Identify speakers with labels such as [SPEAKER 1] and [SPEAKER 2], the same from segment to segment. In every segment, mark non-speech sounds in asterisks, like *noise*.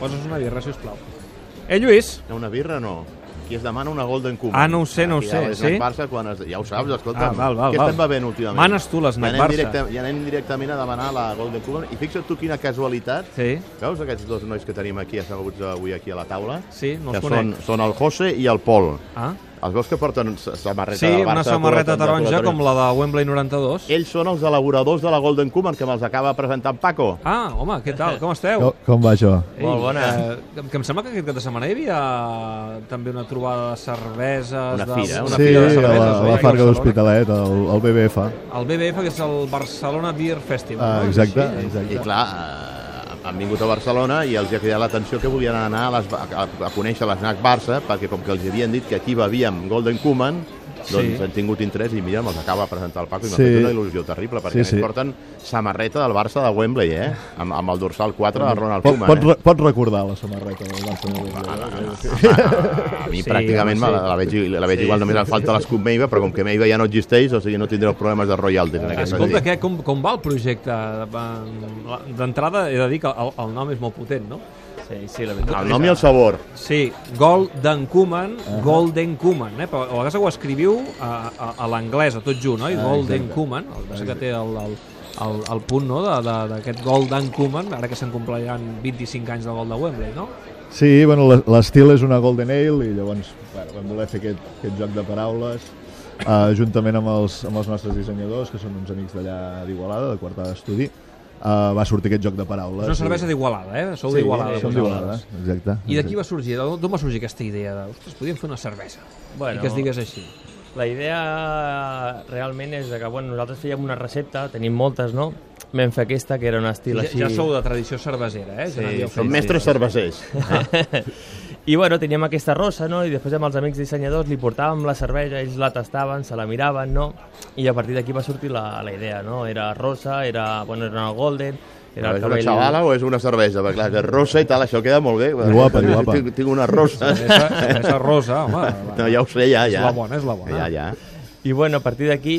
[SPEAKER 1] Posa'ns una birra, sisplau. Eh, Lluís?
[SPEAKER 2] No, una birra no. Qui es demana una Golden Cuba.
[SPEAKER 1] Ah, no ho sé, no ho
[SPEAKER 2] Aquí
[SPEAKER 1] sé,
[SPEAKER 2] a la
[SPEAKER 1] sí?
[SPEAKER 2] Barça, quan es... ja ho saps, escolta.
[SPEAKER 1] Ah, val, val,
[SPEAKER 2] Què
[SPEAKER 1] val.
[SPEAKER 2] estem bevent últimament?
[SPEAKER 1] Manes tu les Snack
[SPEAKER 2] I anem
[SPEAKER 1] Barça.
[SPEAKER 2] I anem directament a demanar la Golden Cuba. I fixa't tu quina casualitat.
[SPEAKER 1] Sí.
[SPEAKER 2] Veus aquests dos nois que tenim aquí asseguts avui aquí a la taula?
[SPEAKER 1] Sí, no els
[SPEAKER 2] que són,
[SPEAKER 1] conec.
[SPEAKER 2] són el José i el Pol.
[SPEAKER 1] Ah?
[SPEAKER 2] Els veus que porten sa- samarreta
[SPEAKER 1] Sí,
[SPEAKER 2] del Eh. Barça?
[SPEAKER 1] una
[SPEAKER 2] de
[SPEAKER 1] samarreta
[SPEAKER 2] color- de color
[SPEAKER 1] taronja com la de Wembley 92.
[SPEAKER 2] Ells són els elaboradors de la Golden Cuban, que me'ls acaba presentant Paco.
[SPEAKER 1] Ah, home, què tal? Com esteu?
[SPEAKER 3] Com, com va això?
[SPEAKER 2] Molt bona.
[SPEAKER 1] Eh, que em sembla que aquest cap de setmana hi havia també una trobada de cerveses...
[SPEAKER 2] Una
[SPEAKER 1] de-
[SPEAKER 2] fira, una
[SPEAKER 3] sí,
[SPEAKER 2] fira de
[SPEAKER 3] a la,
[SPEAKER 2] cerveses, eh?
[SPEAKER 3] a
[SPEAKER 2] oi?
[SPEAKER 3] la
[SPEAKER 1] aquí Barcelona.
[SPEAKER 3] Farga d'Hospitalet, el, el BBF.
[SPEAKER 1] El BBF, que és el Barcelona Beer Festival.
[SPEAKER 3] Ah,
[SPEAKER 1] no? És
[SPEAKER 3] exacte,
[SPEAKER 1] així?
[SPEAKER 2] I
[SPEAKER 3] exacte.
[SPEAKER 2] clar, eh, han vingut a Barcelona i els hi ha cridat l'atenció que volien anar a, les, a, a conèixer l'Snac Barça, perquè com que els havien dit que aquí bevíem Golden Cuman, doncs
[SPEAKER 1] Sí.
[SPEAKER 2] han tingut interès i mira, me'ls acaba de presentar el Paco i m'ha
[SPEAKER 3] Sí.
[SPEAKER 2] fet una il·lusió terrible, perquè sí,
[SPEAKER 3] Sí,
[SPEAKER 2] sí.
[SPEAKER 3] sí.
[SPEAKER 2] porten samarreta del Barça de Wembley, eh? Amb, amb el dorsal 4 de Ronald
[SPEAKER 3] Pot,
[SPEAKER 2] Koeman. eh?
[SPEAKER 3] pot, re- pot recordar la samarreta del
[SPEAKER 2] Ah,
[SPEAKER 3] Barça.
[SPEAKER 2] A mi
[SPEAKER 1] Sí, home,
[SPEAKER 2] pràcticament me
[SPEAKER 1] sí.
[SPEAKER 2] la, la veig, la veig igual, només em falta l'escut Meiva, però com que Meiva ja no existeix, o sigui, no tindreu problemes de royalties en aquest
[SPEAKER 1] Escolta,
[SPEAKER 2] sentit.
[SPEAKER 1] què, com, com va el projecte? Eh, Va, D'entrada he de dir que el, el nom és molt potent, no?
[SPEAKER 4] Sí, sí, la veritat.
[SPEAKER 2] El nom i el sabor.
[SPEAKER 1] Sí, Golden Kuman, Golden Kuman, eh? Però a vegades ho escriviu a, a, a l'anglesa, tot junt, oi? Golden Kuman, el que passa que té el, el, el, el punt, no?, de- de- d'aquest Golden Kuman, ara que se'n compliran 25 anys del gol de Wembley, no?
[SPEAKER 3] Sí, bueno, l'es- l'estil és una Golden Ale i llavors bueno, vam voler fer aquest, aquest joc de paraules eh, juntament amb els, amb els nostres dissenyadors, que són uns amics d'allà d'Igualada, de quarta d'estudi. Eh, va sortir aquest joc de paraules.
[SPEAKER 1] És una cervesa d'Igualada, eh? Sou d'Igualada.
[SPEAKER 2] doncs.
[SPEAKER 3] Sí, som
[SPEAKER 1] vosaltres.
[SPEAKER 3] d'Igualada, exacte.
[SPEAKER 1] I d'aquí va sorgir, d'on d'on va sorgir aquesta idea de, ostres, podíem fer una cervesa?
[SPEAKER 4] Bueno.
[SPEAKER 1] I que es digués així.
[SPEAKER 4] La idea realment és de que bueno, nosaltres fèiem una recepta, tenim moltes, no? Vam fer aquesta, que era un estil
[SPEAKER 1] Ja,
[SPEAKER 4] així...
[SPEAKER 1] ja sou de tradició cervesera, eh?
[SPEAKER 4] Sí,
[SPEAKER 1] n'havíeu
[SPEAKER 2] Són
[SPEAKER 1] fet.
[SPEAKER 2] mestres cervesers.
[SPEAKER 4] I bueno, teníem aquesta rosa, no? I després amb els amics dissenyadors li portàvem la cervesa, ells la tastaven, se la miraven, no? I a partir d'aquí va sortir la, la idea, no? Era rosa, era, bueno, era una golden, era
[SPEAKER 2] Però
[SPEAKER 4] el
[SPEAKER 2] és una
[SPEAKER 4] cabell...
[SPEAKER 2] xavala o és una cervesa? Perquè clar, és rosa i tal, això queda molt bé.
[SPEAKER 3] I guapa, i guapa.
[SPEAKER 2] Tinc, tinc una rosa.
[SPEAKER 1] Cervesa, cervesa rosa, home. va.
[SPEAKER 2] *laughs* No, ja ho sé, ja, ja.
[SPEAKER 1] És la bona, és la bona.
[SPEAKER 2] Ja, ja.
[SPEAKER 4] I bueno, a partir d'aquí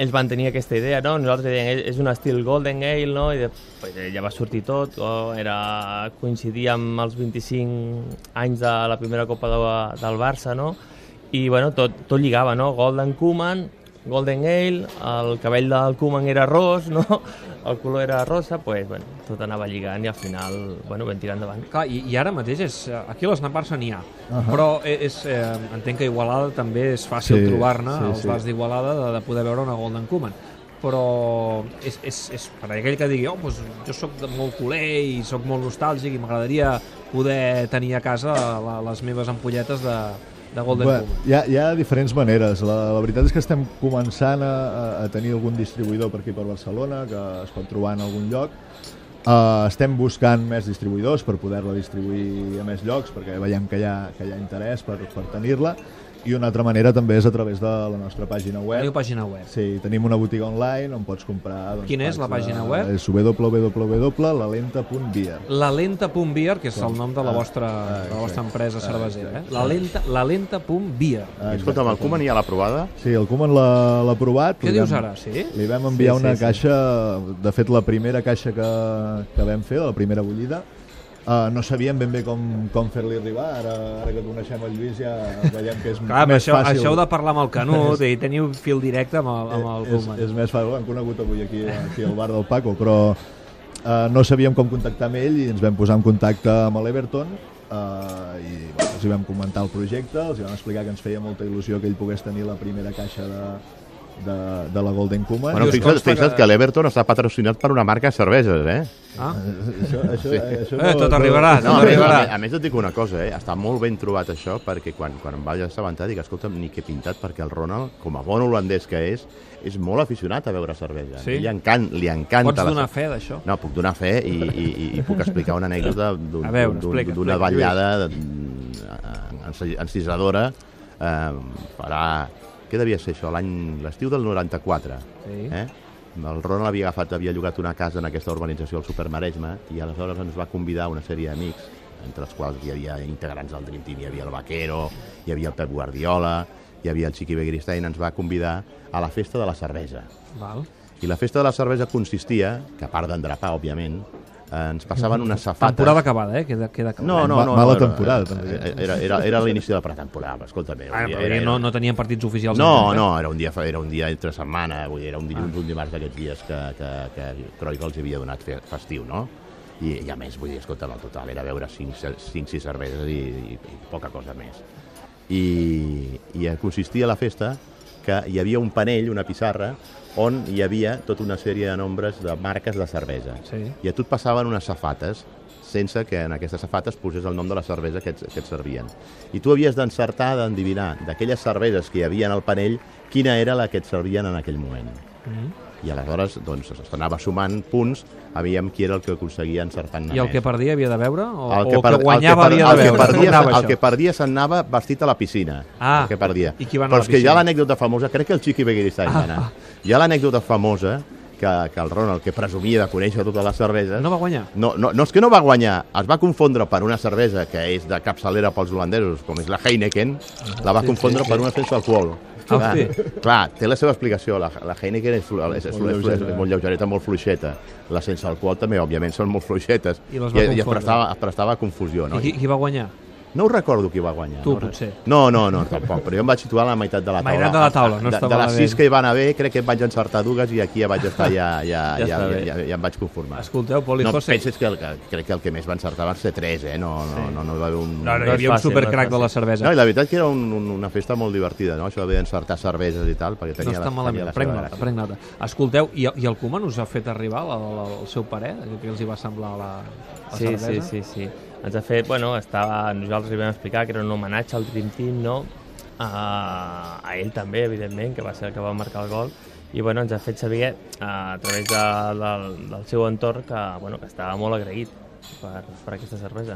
[SPEAKER 4] ells van tenir aquesta idea, no? Nosaltres dèiem, "Eh, "És- és un estil Golden Ale, no? I de, pues, eh, ja va sortir tot, o era coincidir amb els 25 anys de la primera Copa de, del Barça, no? I bueno, tot, tot lligava, no? Golden Koeman, Golden Ale, el cabell del Koeman era ros, no? *laughs* El color era rosa, pues, bueno, tot anava lligant i al final, bueno, vam tirar endavant.
[SPEAKER 1] Clar, i, i ara mateix és, eh, aquí a les Naparsa n'hi ha, uh -huh. però e- és, eh, entenc que a Igualada també és fàcil
[SPEAKER 3] Sí,
[SPEAKER 1] trobar-ne
[SPEAKER 3] sí,
[SPEAKER 1] als
[SPEAKER 3] sí.
[SPEAKER 1] bars d'Igualada de, de poder veure una Golden Cuman però és, és, és per aquell que digui oh, doncs jo sóc de molt culer i sóc molt nostàlgic i m'agradaria poder tenir a casa la, les meves ampolletes de, de Golden
[SPEAKER 3] Bé,
[SPEAKER 1] Cuman
[SPEAKER 3] hi, ha, hi ha diferents maneres. La, la veritat és que estem començant a, a- a tenir algun distribuïdor per aquí per Barcelona que es pot trobar en algun lloc. Uh, estem buscant més distribuïdors per poder-la distribuir a més llocs perquè veiem que hi ha, que hi ha interès per, per tenir-la i una altra manera també és a través de la nostra pàgina
[SPEAKER 1] Teniu
[SPEAKER 3] web
[SPEAKER 1] pàgina web
[SPEAKER 3] Sí, tenim una botiga online on pots comprar... Doncs,
[SPEAKER 1] Quina és la
[SPEAKER 3] packs de-
[SPEAKER 1] pàgina web?
[SPEAKER 3] És www.lalenta.beer
[SPEAKER 1] la lenta.beer, que és el nom de
[SPEAKER 3] Ah,
[SPEAKER 1] la vostra, de la vostra empresa cervesera. Eh? La lenta, la lenta.beer.
[SPEAKER 2] Escolta'm, el Koeman ja l'ha provada?
[SPEAKER 3] Sí, el Koeman l'ha l'ha provat.
[SPEAKER 1] Què
[SPEAKER 3] li
[SPEAKER 1] dius
[SPEAKER 3] vam-
[SPEAKER 1] ara, sí?
[SPEAKER 3] Li vam enviar
[SPEAKER 4] Sí,
[SPEAKER 3] sí,
[SPEAKER 4] sí,
[SPEAKER 3] una
[SPEAKER 4] sí.
[SPEAKER 3] sí, caixa, de fet la primera caixa que, que vam fer, la primera bullida, Uh, no sabíem ben bé com, com fer-li arribar, ara, ara que coneixem el Lluís ja veiem que és
[SPEAKER 1] Clar, però
[SPEAKER 3] més
[SPEAKER 1] això,
[SPEAKER 3] fàcil.
[SPEAKER 1] això heu de parlar amb el
[SPEAKER 2] *laughs*
[SPEAKER 1] Canut i teniu fil directe amb el, amb el
[SPEAKER 3] és,
[SPEAKER 1] Koeman.
[SPEAKER 3] és més fàcil, l'hem conegut avui aquí, aquí al bar del Paco, però uh, no sabíem com contactar amb ell i ens vam posar en contacte amb l'Everton uh, i bueno, els hi vam comentar el projecte, els hi vam explicar que ens feia molta il·lusió que ell pogués tenir la primera caixa de, de, de la Golden Koeman.
[SPEAKER 2] Bueno,
[SPEAKER 1] Dius,
[SPEAKER 2] fixa't,
[SPEAKER 1] consta
[SPEAKER 2] fixa't
[SPEAKER 1] que-
[SPEAKER 2] que l'Everton està patrocinat per una marca de cerveses, eh?
[SPEAKER 1] Ah?
[SPEAKER 3] Això, això, això
[SPEAKER 1] Eh, tot arribarà,
[SPEAKER 2] No,
[SPEAKER 1] tot
[SPEAKER 2] a, més, a,
[SPEAKER 1] arribarà.
[SPEAKER 2] més, a més et dic una cosa, eh? està molt ben trobat això perquè quan, quan em vaig assabentar dic, escolta'm, ni que pintat, perquè el Ronald, com a bon holandès que és, és molt aficionat a beure cervesa.
[SPEAKER 1] Sí?
[SPEAKER 2] Li, encan, li encanta
[SPEAKER 1] Pots
[SPEAKER 2] la
[SPEAKER 1] donar
[SPEAKER 2] cervesa.
[SPEAKER 1] fe d'això?
[SPEAKER 2] No, puc donar fe i, i, i, i puc explicar una anècdota d'un-
[SPEAKER 1] A veure,
[SPEAKER 2] d'un-
[SPEAKER 1] explica,
[SPEAKER 2] d'una
[SPEAKER 1] explica,
[SPEAKER 2] ballada mm, enci- encisadora eh, farà... Què devia ser això? L'any... L'estiu del 94.
[SPEAKER 1] Sí.
[SPEAKER 2] Eh? El Ronald havia agafat, havia llogat una casa en aquesta urbanització al Supermaresme i aleshores ens va convidar una sèrie d'amics, entre els quals hi havia integrants del Dream Team, hi havia el Vaquero, hi havia el Pep Guardiola, hi havia el Chiqui Begristein, ens va convidar a la festa de la cervesa.
[SPEAKER 1] Val.
[SPEAKER 2] I la festa de la cervesa consistia, que a part d'endrapar, òbviament, eh, ens passaven unes safates...
[SPEAKER 1] Temporada acabada, eh? Queda, queda clar.
[SPEAKER 2] No, no,
[SPEAKER 3] Mm. Ma-
[SPEAKER 2] no.
[SPEAKER 3] mala
[SPEAKER 2] no, era-
[SPEAKER 3] temporada, també.
[SPEAKER 2] Era, era, era l'inici de la pretemporada, escolta'm. era un
[SPEAKER 1] Ah,
[SPEAKER 2] dia-
[SPEAKER 1] però
[SPEAKER 2] era-
[SPEAKER 1] era, no, no tenien partits oficials.
[SPEAKER 2] no,
[SPEAKER 1] encara, eh?
[SPEAKER 2] no, era un dia, fa- era un dia entre setmana, vull dir, era un dilluns, ah. un dimarts d'aquests dies que, que, que Cruyff els havia donat fe- festiu, no? I, i a més, vull dir, escolta, el total era beure 5-6 cerveses i, i, i poca cosa més. I, I eh, consistia la festa que hi havia un panell, una pissarra, on hi havia tota una sèrie de nombres de marques de cervesa.
[SPEAKER 1] Sí.
[SPEAKER 2] I a tu et passaven unes safates sense que en aquestes safates posés el nom de la cervesa que et, que et servien. I tu havies d'encertar, d'endivinar, d'aquelles cerveses que hi havia en el panell, quina era la que et servien en aquell moment.
[SPEAKER 1] Mm.
[SPEAKER 2] I aleshores, doncs, s'anava sumant punts, aviam qui era el que aconseguia encertant
[SPEAKER 1] I el que perdia havia de beure? O
[SPEAKER 2] el
[SPEAKER 1] o
[SPEAKER 2] per-
[SPEAKER 1] el que guanyava
[SPEAKER 2] el que, per-
[SPEAKER 1] havia de
[SPEAKER 2] el
[SPEAKER 1] beure?
[SPEAKER 2] que perdia,
[SPEAKER 1] Com anava
[SPEAKER 2] el que
[SPEAKER 1] això?
[SPEAKER 2] perdia se'n anava vestit a la piscina.
[SPEAKER 1] Ah,
[SPEAKER 2] el que perdia.
[SPEAKER 1] i qui va anar a la
[SPEAKER 2] Però és que hi
[SPEAKER 1] piscina?
[SPEAKER 2] ha l'anècdota famosa, crec que el Xiqui Beguirista hi va
[SPEAKER 1] *laughs*
[SPEAKER 2] anar. Hi ha l'anècdota famosa que, que el Ronald, que presumia de conèixer tota totes les cerveses,
[SPEAKER 1] No va guanyar?
[SPEAKER 2] no, no, no és que no va guanyar, es va confondre per una cervesa que és de capçalera pels holandesos, com és la Heineken, la va confondre per una sense alcohol.
[SPEAKER 1] Ah,
[SPEAKER 2] clar, clar, té la seva explicació. La, la Heineken és, flu- és, és,
[SPEAKER 3] Molt
[SPEAKER 2] és, és,
[SPEAKER 3] lleugera.
[SPEAKER 2] molt lleugereta, molt fluixeta. La sense alcohol també, òbviament, són molt fluixetes.
[SPEAKER 1] I les va
[SPEAKER 2] i es,
[SPEAKER 1] confondre.
[SPEAKER 2] prestava, es prestava a confusió. No?
[SPEAKER 1] I qui, qui va guanyar?
[SPEAKER 2] No ho recordo qui va guanyar.
[SPEAKER 1] Tu,
[SPEAKER 2] no,
[SPEAKER 1] potser.
[SPEAKER 2] No, no, no, tampoc, però jo em vaig situar a la meitat de la
[SPEAKER 1] La
[SPEAKER 2] taula.
[SPEAKER 1] meitat de la taula, no
[SPEAKER 2] de,
[SPEAKER 1] està
[SPEAKER 2] de les
[SPEAKER 1] malament.
[SPEAKER 2] sis que hi van haver, crec que em vaig encertar dues i aquí ja vaig estar, ja, ja,
[SPEAKER 4] Ja
[SPEAKER 2] ja, ja, ja,
[SPEAKER 4] està bé.
[SPEAKER 2] ja, em vaig conformar.
[SPEAKER 1] Escolteu, Pol i
[SPEAKER 2] No,
[SPEAKER 1] José.
[SPEAKER 2] penses que, el, que crec que el que més va encertar van ser tres, eh? No, no, no, no hi va haver un...
[SPEAKER 1] No, no, hi
[SPEAKER 4] No
[SPEAKER 1] havia un
[SPEAKER 4] és fàcil, no és
[SPEAKER 1] supercrac de la cervesa.
[SPEAKER 2] No, i la veritat que era un, un, una festa molt divertida, no? Això d'haver d'encertar cerveses i tal, perquè
[SPEAKER 1] No
[SPEAKER 2] tenia
[SPEAKER 1] està
[SPEAKER 2] la,
[SPEAKER 1] malament,
[SPEAKER 2] tenia la
[SPEAKER 1] prenc
[SPEAKER 2] seva
[SPEAKER 1] nota,
[SPEAKER 2] gràcia.
[SPEAKER 1] prenc nota. Escolteu, i, i el Koeman us ha fet arribar la, la, el seu parer? Què els hi va semblar la, la
[SPEAKER 4] Sí,
[SPEAKER 1] cervesa?
[SPEAKER 4] sí, sí, sí. Ens ha fet, bueno, estava, nosaltres li vam explicar que era un homenatge al Dream Team, no? A, a ell també, evidentment, que va ser el que va marcar el gol. I bueno, ens ha fet saber a, a través de, del, del seu entorn que, bueno, que estava molt agraït per, per aquesta cervesa.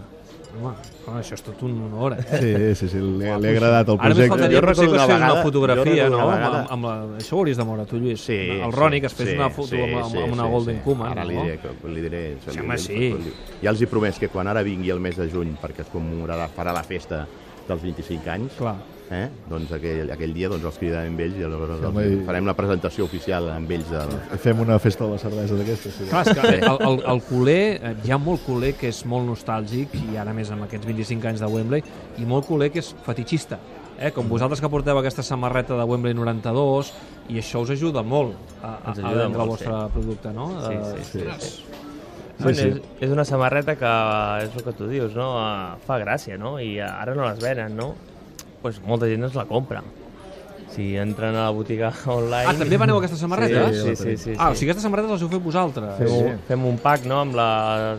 [SPEAKER 1] Home, home, això és tot un honor, eh?
[SPEAKER 3] Sí, sí, sí, li, li ha agradat el
[SPEAKER 1] Ara només
[SPEAKER 3] projecte.
[SPEAKER 1] faltaria
[SPEAKER 2] Jo
[SPEAKER 1] que potser que es fes
[SPEAKER 2] recordo una
[SPEAKER 1] una
[SPEAKER 2] vegada- jo
[SPEAKER 1] fotografia,
[SPEAKER 2] recordo
[SPEAKER 1] no?
[SPEAKER 2] una
[SPEAKER 1] Amb,
[SPEAKER 2] vegada-
[SPEAKER 1] amb, amb la... Això ho hauries de moure tu, Lluís.
[SPEAKER 2] Sí,
[SPEAKER 1] el
[SPEAKER 2] sí,
[SPEAKER 1] Roni, que es fes
[SPEAKER 2] sí,
[SPEAKER 1] una foto
[SPEAKER 2] sí,
[SPEAKER 1] amb, amb,
[SPEAKER 2] sí,
[SPEAKER 1] amb una
[SPEAKER 2] sí,
[SPEAKER 1] Golden
[SPEAKER 2] sí.
[SPEAKER 1] Kuma.
[SPEAKER 2] Ara li
[SPEAKER 1] no?
[SPEAKER 2] diré, que- li diré...
[SPEAKER 1] Sí,
[SPEAKER 2] li-
[SPEAKER 1] home,
[SPEAKER 2] li-
[SPEAKER 1] sí.
[SPEAKER 2] li- Ja els he promès que quan ara vingui el mes de juny, perquè es commemorarà, farà la festa dels 25 anys,
[SPEAKER 1] Clar.
[SPEAKER 2] eh? doncs aquell, aquell dia doncs els cridarem amb ells i aleshores
[SPEAKER 3] home,
[SPEAKER 2] els,
[SPEAKER 3] i-
[SPEAKER 2] farem la presentació oficial amb ells. Del...
[SPEAKER 3] Fem una festa de la cervesa d'aquestes. Sí.
[SPEAKER 1] Clar, és que el, el, el culer, eh, hi ha molt culer que és molt nostàlgic, i ara més amb aquests 25 anys de Wembley, i molt culer que és fetichista. Eh?
[SPEAKER 2] Mm.
[SPEAKER 1] Com vosaltres que porteu aquesta samarreta de Wembley 92, i això us ajuda molt a, a,
[SPEAKER 4] Ens
[SPEAKER 1] a
[SPEAKER 4] ajuda
[SPEAKER 1] vendre el
[SPEAKER 4] molt,
[SPEAKER 1] vostre producte, no?
[SPEAKER 4] Sí,
[SPEAKER 1] Eh,
[SPEAKER 4] sí, sí.
[SPEAKER 1] ostres.
[SPEAKER 4] sí. Bueno, sí, sí. És, és una samarreta que és el que tu dius, no? Eh, Fa gràcia, no? I ara no les venen, no? pues molta gent es la compra. Si entren a la botiga *laughs* online...
[SPEAKER 1] Ah, també veneu aquestes samarretes?
[SPEAKER 4] Sí, sí, sí. sí, sí.
[SPEAKER 1] Ah, o sigui, aquestes samarretes les heu fet vosaltres.
[SPEAKER 4] Fem, un, fem un pack, no?, amb la,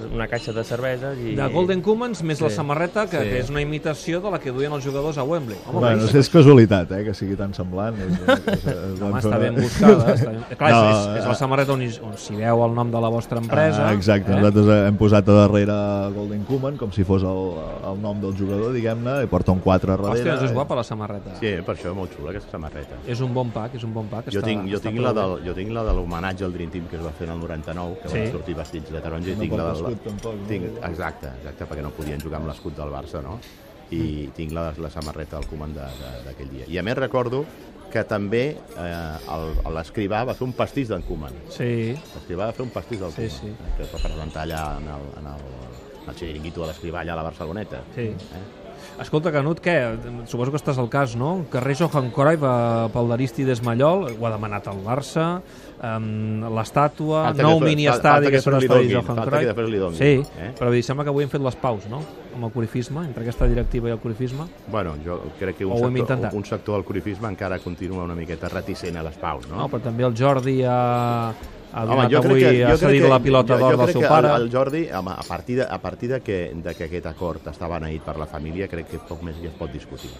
[SPEAKER 4] una caixa de cerveses i...
[SPEAKER 1] De Golden Cummins més la
[SPEAKER 4] Sí.
[SPEAKER 1] samarreta, que,
[SPEAKER 4] Sí.
[SPEAKER 1] que és una imitació de la que duien els jugadors a Wembley. Home,
[SPEAKER 3] Bueno, és, és casualitat, eh, que sigui tan semblant. És, és, és, és,
[SPEAKER 1] Home, està ben buscada. Està ben... Clar, no,
[SPEAKER 3] No,
[SPEAKER 1] és, és la samarreta on, hi- on s'hi veu el nom de la vostra empresa.
[SPEAKER 3] Ah, exacte, eh?
[SPEAKER 1] Eh?
[SPEAKER 3] nosaltres hem posat a darrere Golden Koeman com si fos el, el nom del jugador, diguem-ne, i porta un 4 a darrere.
[SPEAKER 1] Hòstia, doncs és guapa la samarreta. Sí.
[SPEAKER 2] Sí, eh, per això és molt xula aquesta samarreta.
[SPEAKER 1] És un bon pack, és un bon pack.
[SPEAKER 2] Jo
[SPEAKER 1] està,
[SPEAKER 2] tinc, jo,
[SPEAKER 1] està
[SPEAKER 2] tinc
[SPEAKER 1] prou
[SPEAKER 2] la
[SPEAKER 1] bé.
[SPEAKER 2] del, jo tinc la de l'homenatge al Dream Team que es va fer en el 99, que sí.
[SPEAKER 1] Sí.
[SPEAKER 2] van sortir vestits de taronja, i
[SPEAKER 3] No
[SPEAKER 2] tinc la
[SPEAKER 3] porta
[SPEAKER 2] del...
[SPEAKER 3] escut, tampoc, no?
[SPEAKER 2] Tinc, exacte, exacte, perquè no podien jugar amb l'escut del Barça, no? I
[SPEAKER 1] Mm.
[SPEAKER 2] tinc la, la samarreta del comandà de- d'aquell dia. I a més recordo que també eh, el- l'escrivà va fer un pastís d'en Koeman.
[SPEAKER 1] Sí,
[SPEAKER 2] L'escrivà va fer un pastís del
[SPEAKER 1] Sí,
[SPEAKER 2] Koeman,
[SPEAKER 1] sí.
[SPEAKER 2] eh, que es va presentar allà en el, en el, en el xiringuito de l'escrivà allà a la Barceloneta.
[SPEAKER 1] sí.
[SPEAKER 2] Eh?
[SPEAKER 1] Escolta, Canut, què? Suposo que estàs al cas, no? Carrer Johan Cruyff eh, pel d'Aristides Mallol, ho ha demanat el Barça, um, l'estàtua,
[SPEAKER 2] Falta que
[SPEAKER 1] nou
[SPEAKER 2] després- fal-
[SPEAKER 1] mini-estadi
[SPEAKER 2] falta que
[SPEAKER 1] que serà
[SPEAKER 2] després li
[SPEAKER 1] l'estadi
[SPEAKER 2] donguin,
[SPEAKER 1] Johan
[SPEAKER 2] falta que
[SPEAKER 1] Cruyff.
[SPEAKER 2] després li donguin,
[SPEAKER 1] sí,
[SPEAKER 2] eh?
[SPEAKER 1] però vull dir, sembla que avui hem fet les paus, no? Amb el corifisme, entre aquesta directiva i el corifisme.
[SPEAKER 2] Bueno, jo crec que
[SPEAKER 1] Ho
[SPEAKER 2] un
[SPEAKER 1] hem
[SPEAKER 2] sector,
[SPEAKER 1] intentat.
[SPEAKER 2] un sector del corifisme encara continua una miqueta reticent a les paus, no?
[SPEAKER 1] No, però també el Jordi ha, ha
[SPEAKER 2] Home,
[SPEAKER 1] donat avui, ha cedit la pilota
[SPEAKER 2] jo- jo
[SPEAKER 1] d'or del
[SPEAKER 2] crec
[SPEAKER 1] seu
[SPEAKER 2] que
[SPEAKER 1] pare.
[SPEAKER 2] El, el Jordi, home, a partir, de, a partir de, que, de que aquest acord estava beneït per la família, crec que poc més ja es pot discutir.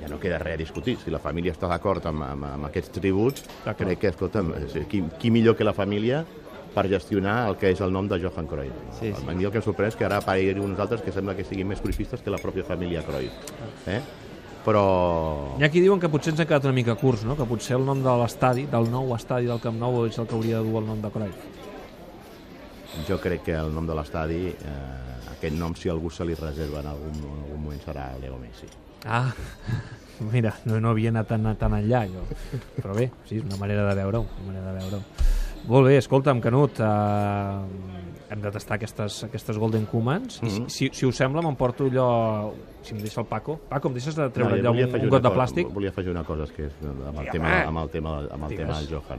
[SPEAKER 2] Ja no queda res a discutir. Si la família està d'acord amb, amb, amb aquests tributs,
[SPEAKER 1] D'acord.
[SPEAKER 2] crec que, escolta'm, és a dir, qui, qui millor que la família per gestionar el que és el nom de Johan Cruyff.
[SPEAKER 4] Sí, sí.
[SPEAKER 2] A mi el que em sorprèn és que ara apareguin uns altres que sembla que siguin més cruifistes que la pròpia família Cruyff. Eh? Però...
[SPEAKER 1] Hi ha qui diuen que potser ens ha quedat una mica curts, no? que potser el nom de l'estadi, del nou estadi del Camp Nou, és el que hauria de dur el nom de Cruyff.
[SPEAKER 2] Jo crec que el nom de l'estadi, eh, aquest nom, si algú se li reserva en algun, en algun moment, serà Leo Messi.
[SPEAKER 1] *laughs* Ah, mira, no, no havia anat tan, tan enllà, jo. Però bé, sí, és una manera de veure-ho, una manera de veure-ho. Molt bé, escolta'm, Canut, eh, hem de tastar aquestes, aquestes Golden Cumans. Mm -hmm.
[SPEAKER 2] Mm-hmm.
[SPEAKER 1] si, si us sembla, m'emporto allò... Si em deixa el Paco. Paco, em deixes de treure allò
[SPEAKER 2] volia
[SPEAKER 1] un,
[SPEAKER 2] afegir
[SPEAKER 1] un
[SPEAKER 2] una
[SPEAKER 1] got de
[SPEAKER 2] cosa-
[SPEAKER 1] plàstic?
[SPEAKER 2] Volia afegir una cosa, és que és amb el
[SPEAKER 1] Digue'm,
[SPEAKER 2] tema,
[SPEAKER 1] eh?
[SPEAKER 2] amb el tema, amb el tema
[SPEAKER 1] Digues.
[SPEAKER 2] del Johan.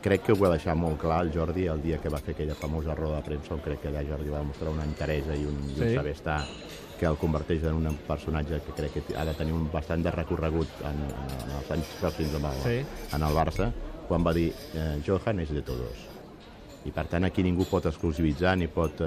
[SPEAKER 2] Crec que ho va deixar molt clar el Jordi el dia que va fer aquella famosa roda de premsa on crec que allà Jordi va mostrar una enteresa i un, sí. i un
[SPEAKER 1] Sí.
[SPEAKER 2] saber estar que el converteix en un personatge que crec que ha de tenir un bastant de recorregut en, en, en els anys pròxims amb el,
[SPEAKER 1] Sí.
[SPEAKER 2] en el Barça, quan va dir eh, Johan és de todos. I per tant aquí ningú pot exclusivitzar ni pot, eh,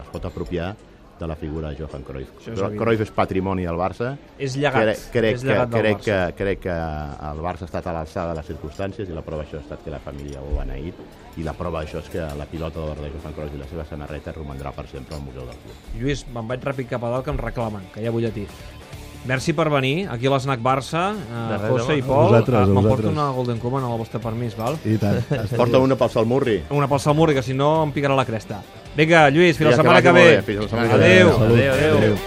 [SPEAKER 2] es pot apropiar de la figura de Johan Cruyff.
[SPEAKER 1] és evident.
[SPEAKER 2] Cruyff és patrimoni del Barça
[SPEAKER 1] És llegat.
[SPEAKER 2] Crec, crec,
[SPEAKER 1] és llegat
[SPEAKER 2] que,
[SPEAKER 1] del
[SPEAKER 2] crec,
[SPEAKER 1] Barça.
[SPEAKER 2] que, crec que el Barça ha estat a l'alçada de les circumstàncies i la prova d'això ha estat que la família ho ha beneït i la prova d'això és que la pilota d'or de Johan Cruyff i la seva senarreta romandrà per sempre al Museu del Club.
[SPEAKER 1] Lluís, me'n vaig ràpid cap a dalt que em reclamen, que hi ha butlletí. Merci per venir aquí a l'Snac Barça, eh,
[SPEAKER 4] res,
[SPEAKER 1] José
[SPEAKER 4] home.
[SPEAKER 1] i Pol.
[SPEAKER 3] A vosaltres, a
[SPEAKER 1] M'emporto
[SPEAKER 3] vosaltes.
[SPEAKER 1] una Golden Cuman amb el vostre permís, val?
[SPEAKER 3] I tant. Has
[SPEAKER 2] Porta una pel Salmurri.
[SPEAKER 1] Una pel Salmurri, que si no em picarà la cresta. Vinga, Lluís, fins
[SPEAKER 2] Ja,
[SPEAKER 1] la
[SPEAKER 2] que
[SPEAKER 1] setmana que
[SPEAKER 2] vagi molt
[SPEAKER 1] ve.
[SPEAKER 2] bé. Fins la setmana que ve.
[SPEAKER 1] Adéu.
[SPEAKER 3] Salut.
[SPEAKER 4] Adéu, adéu.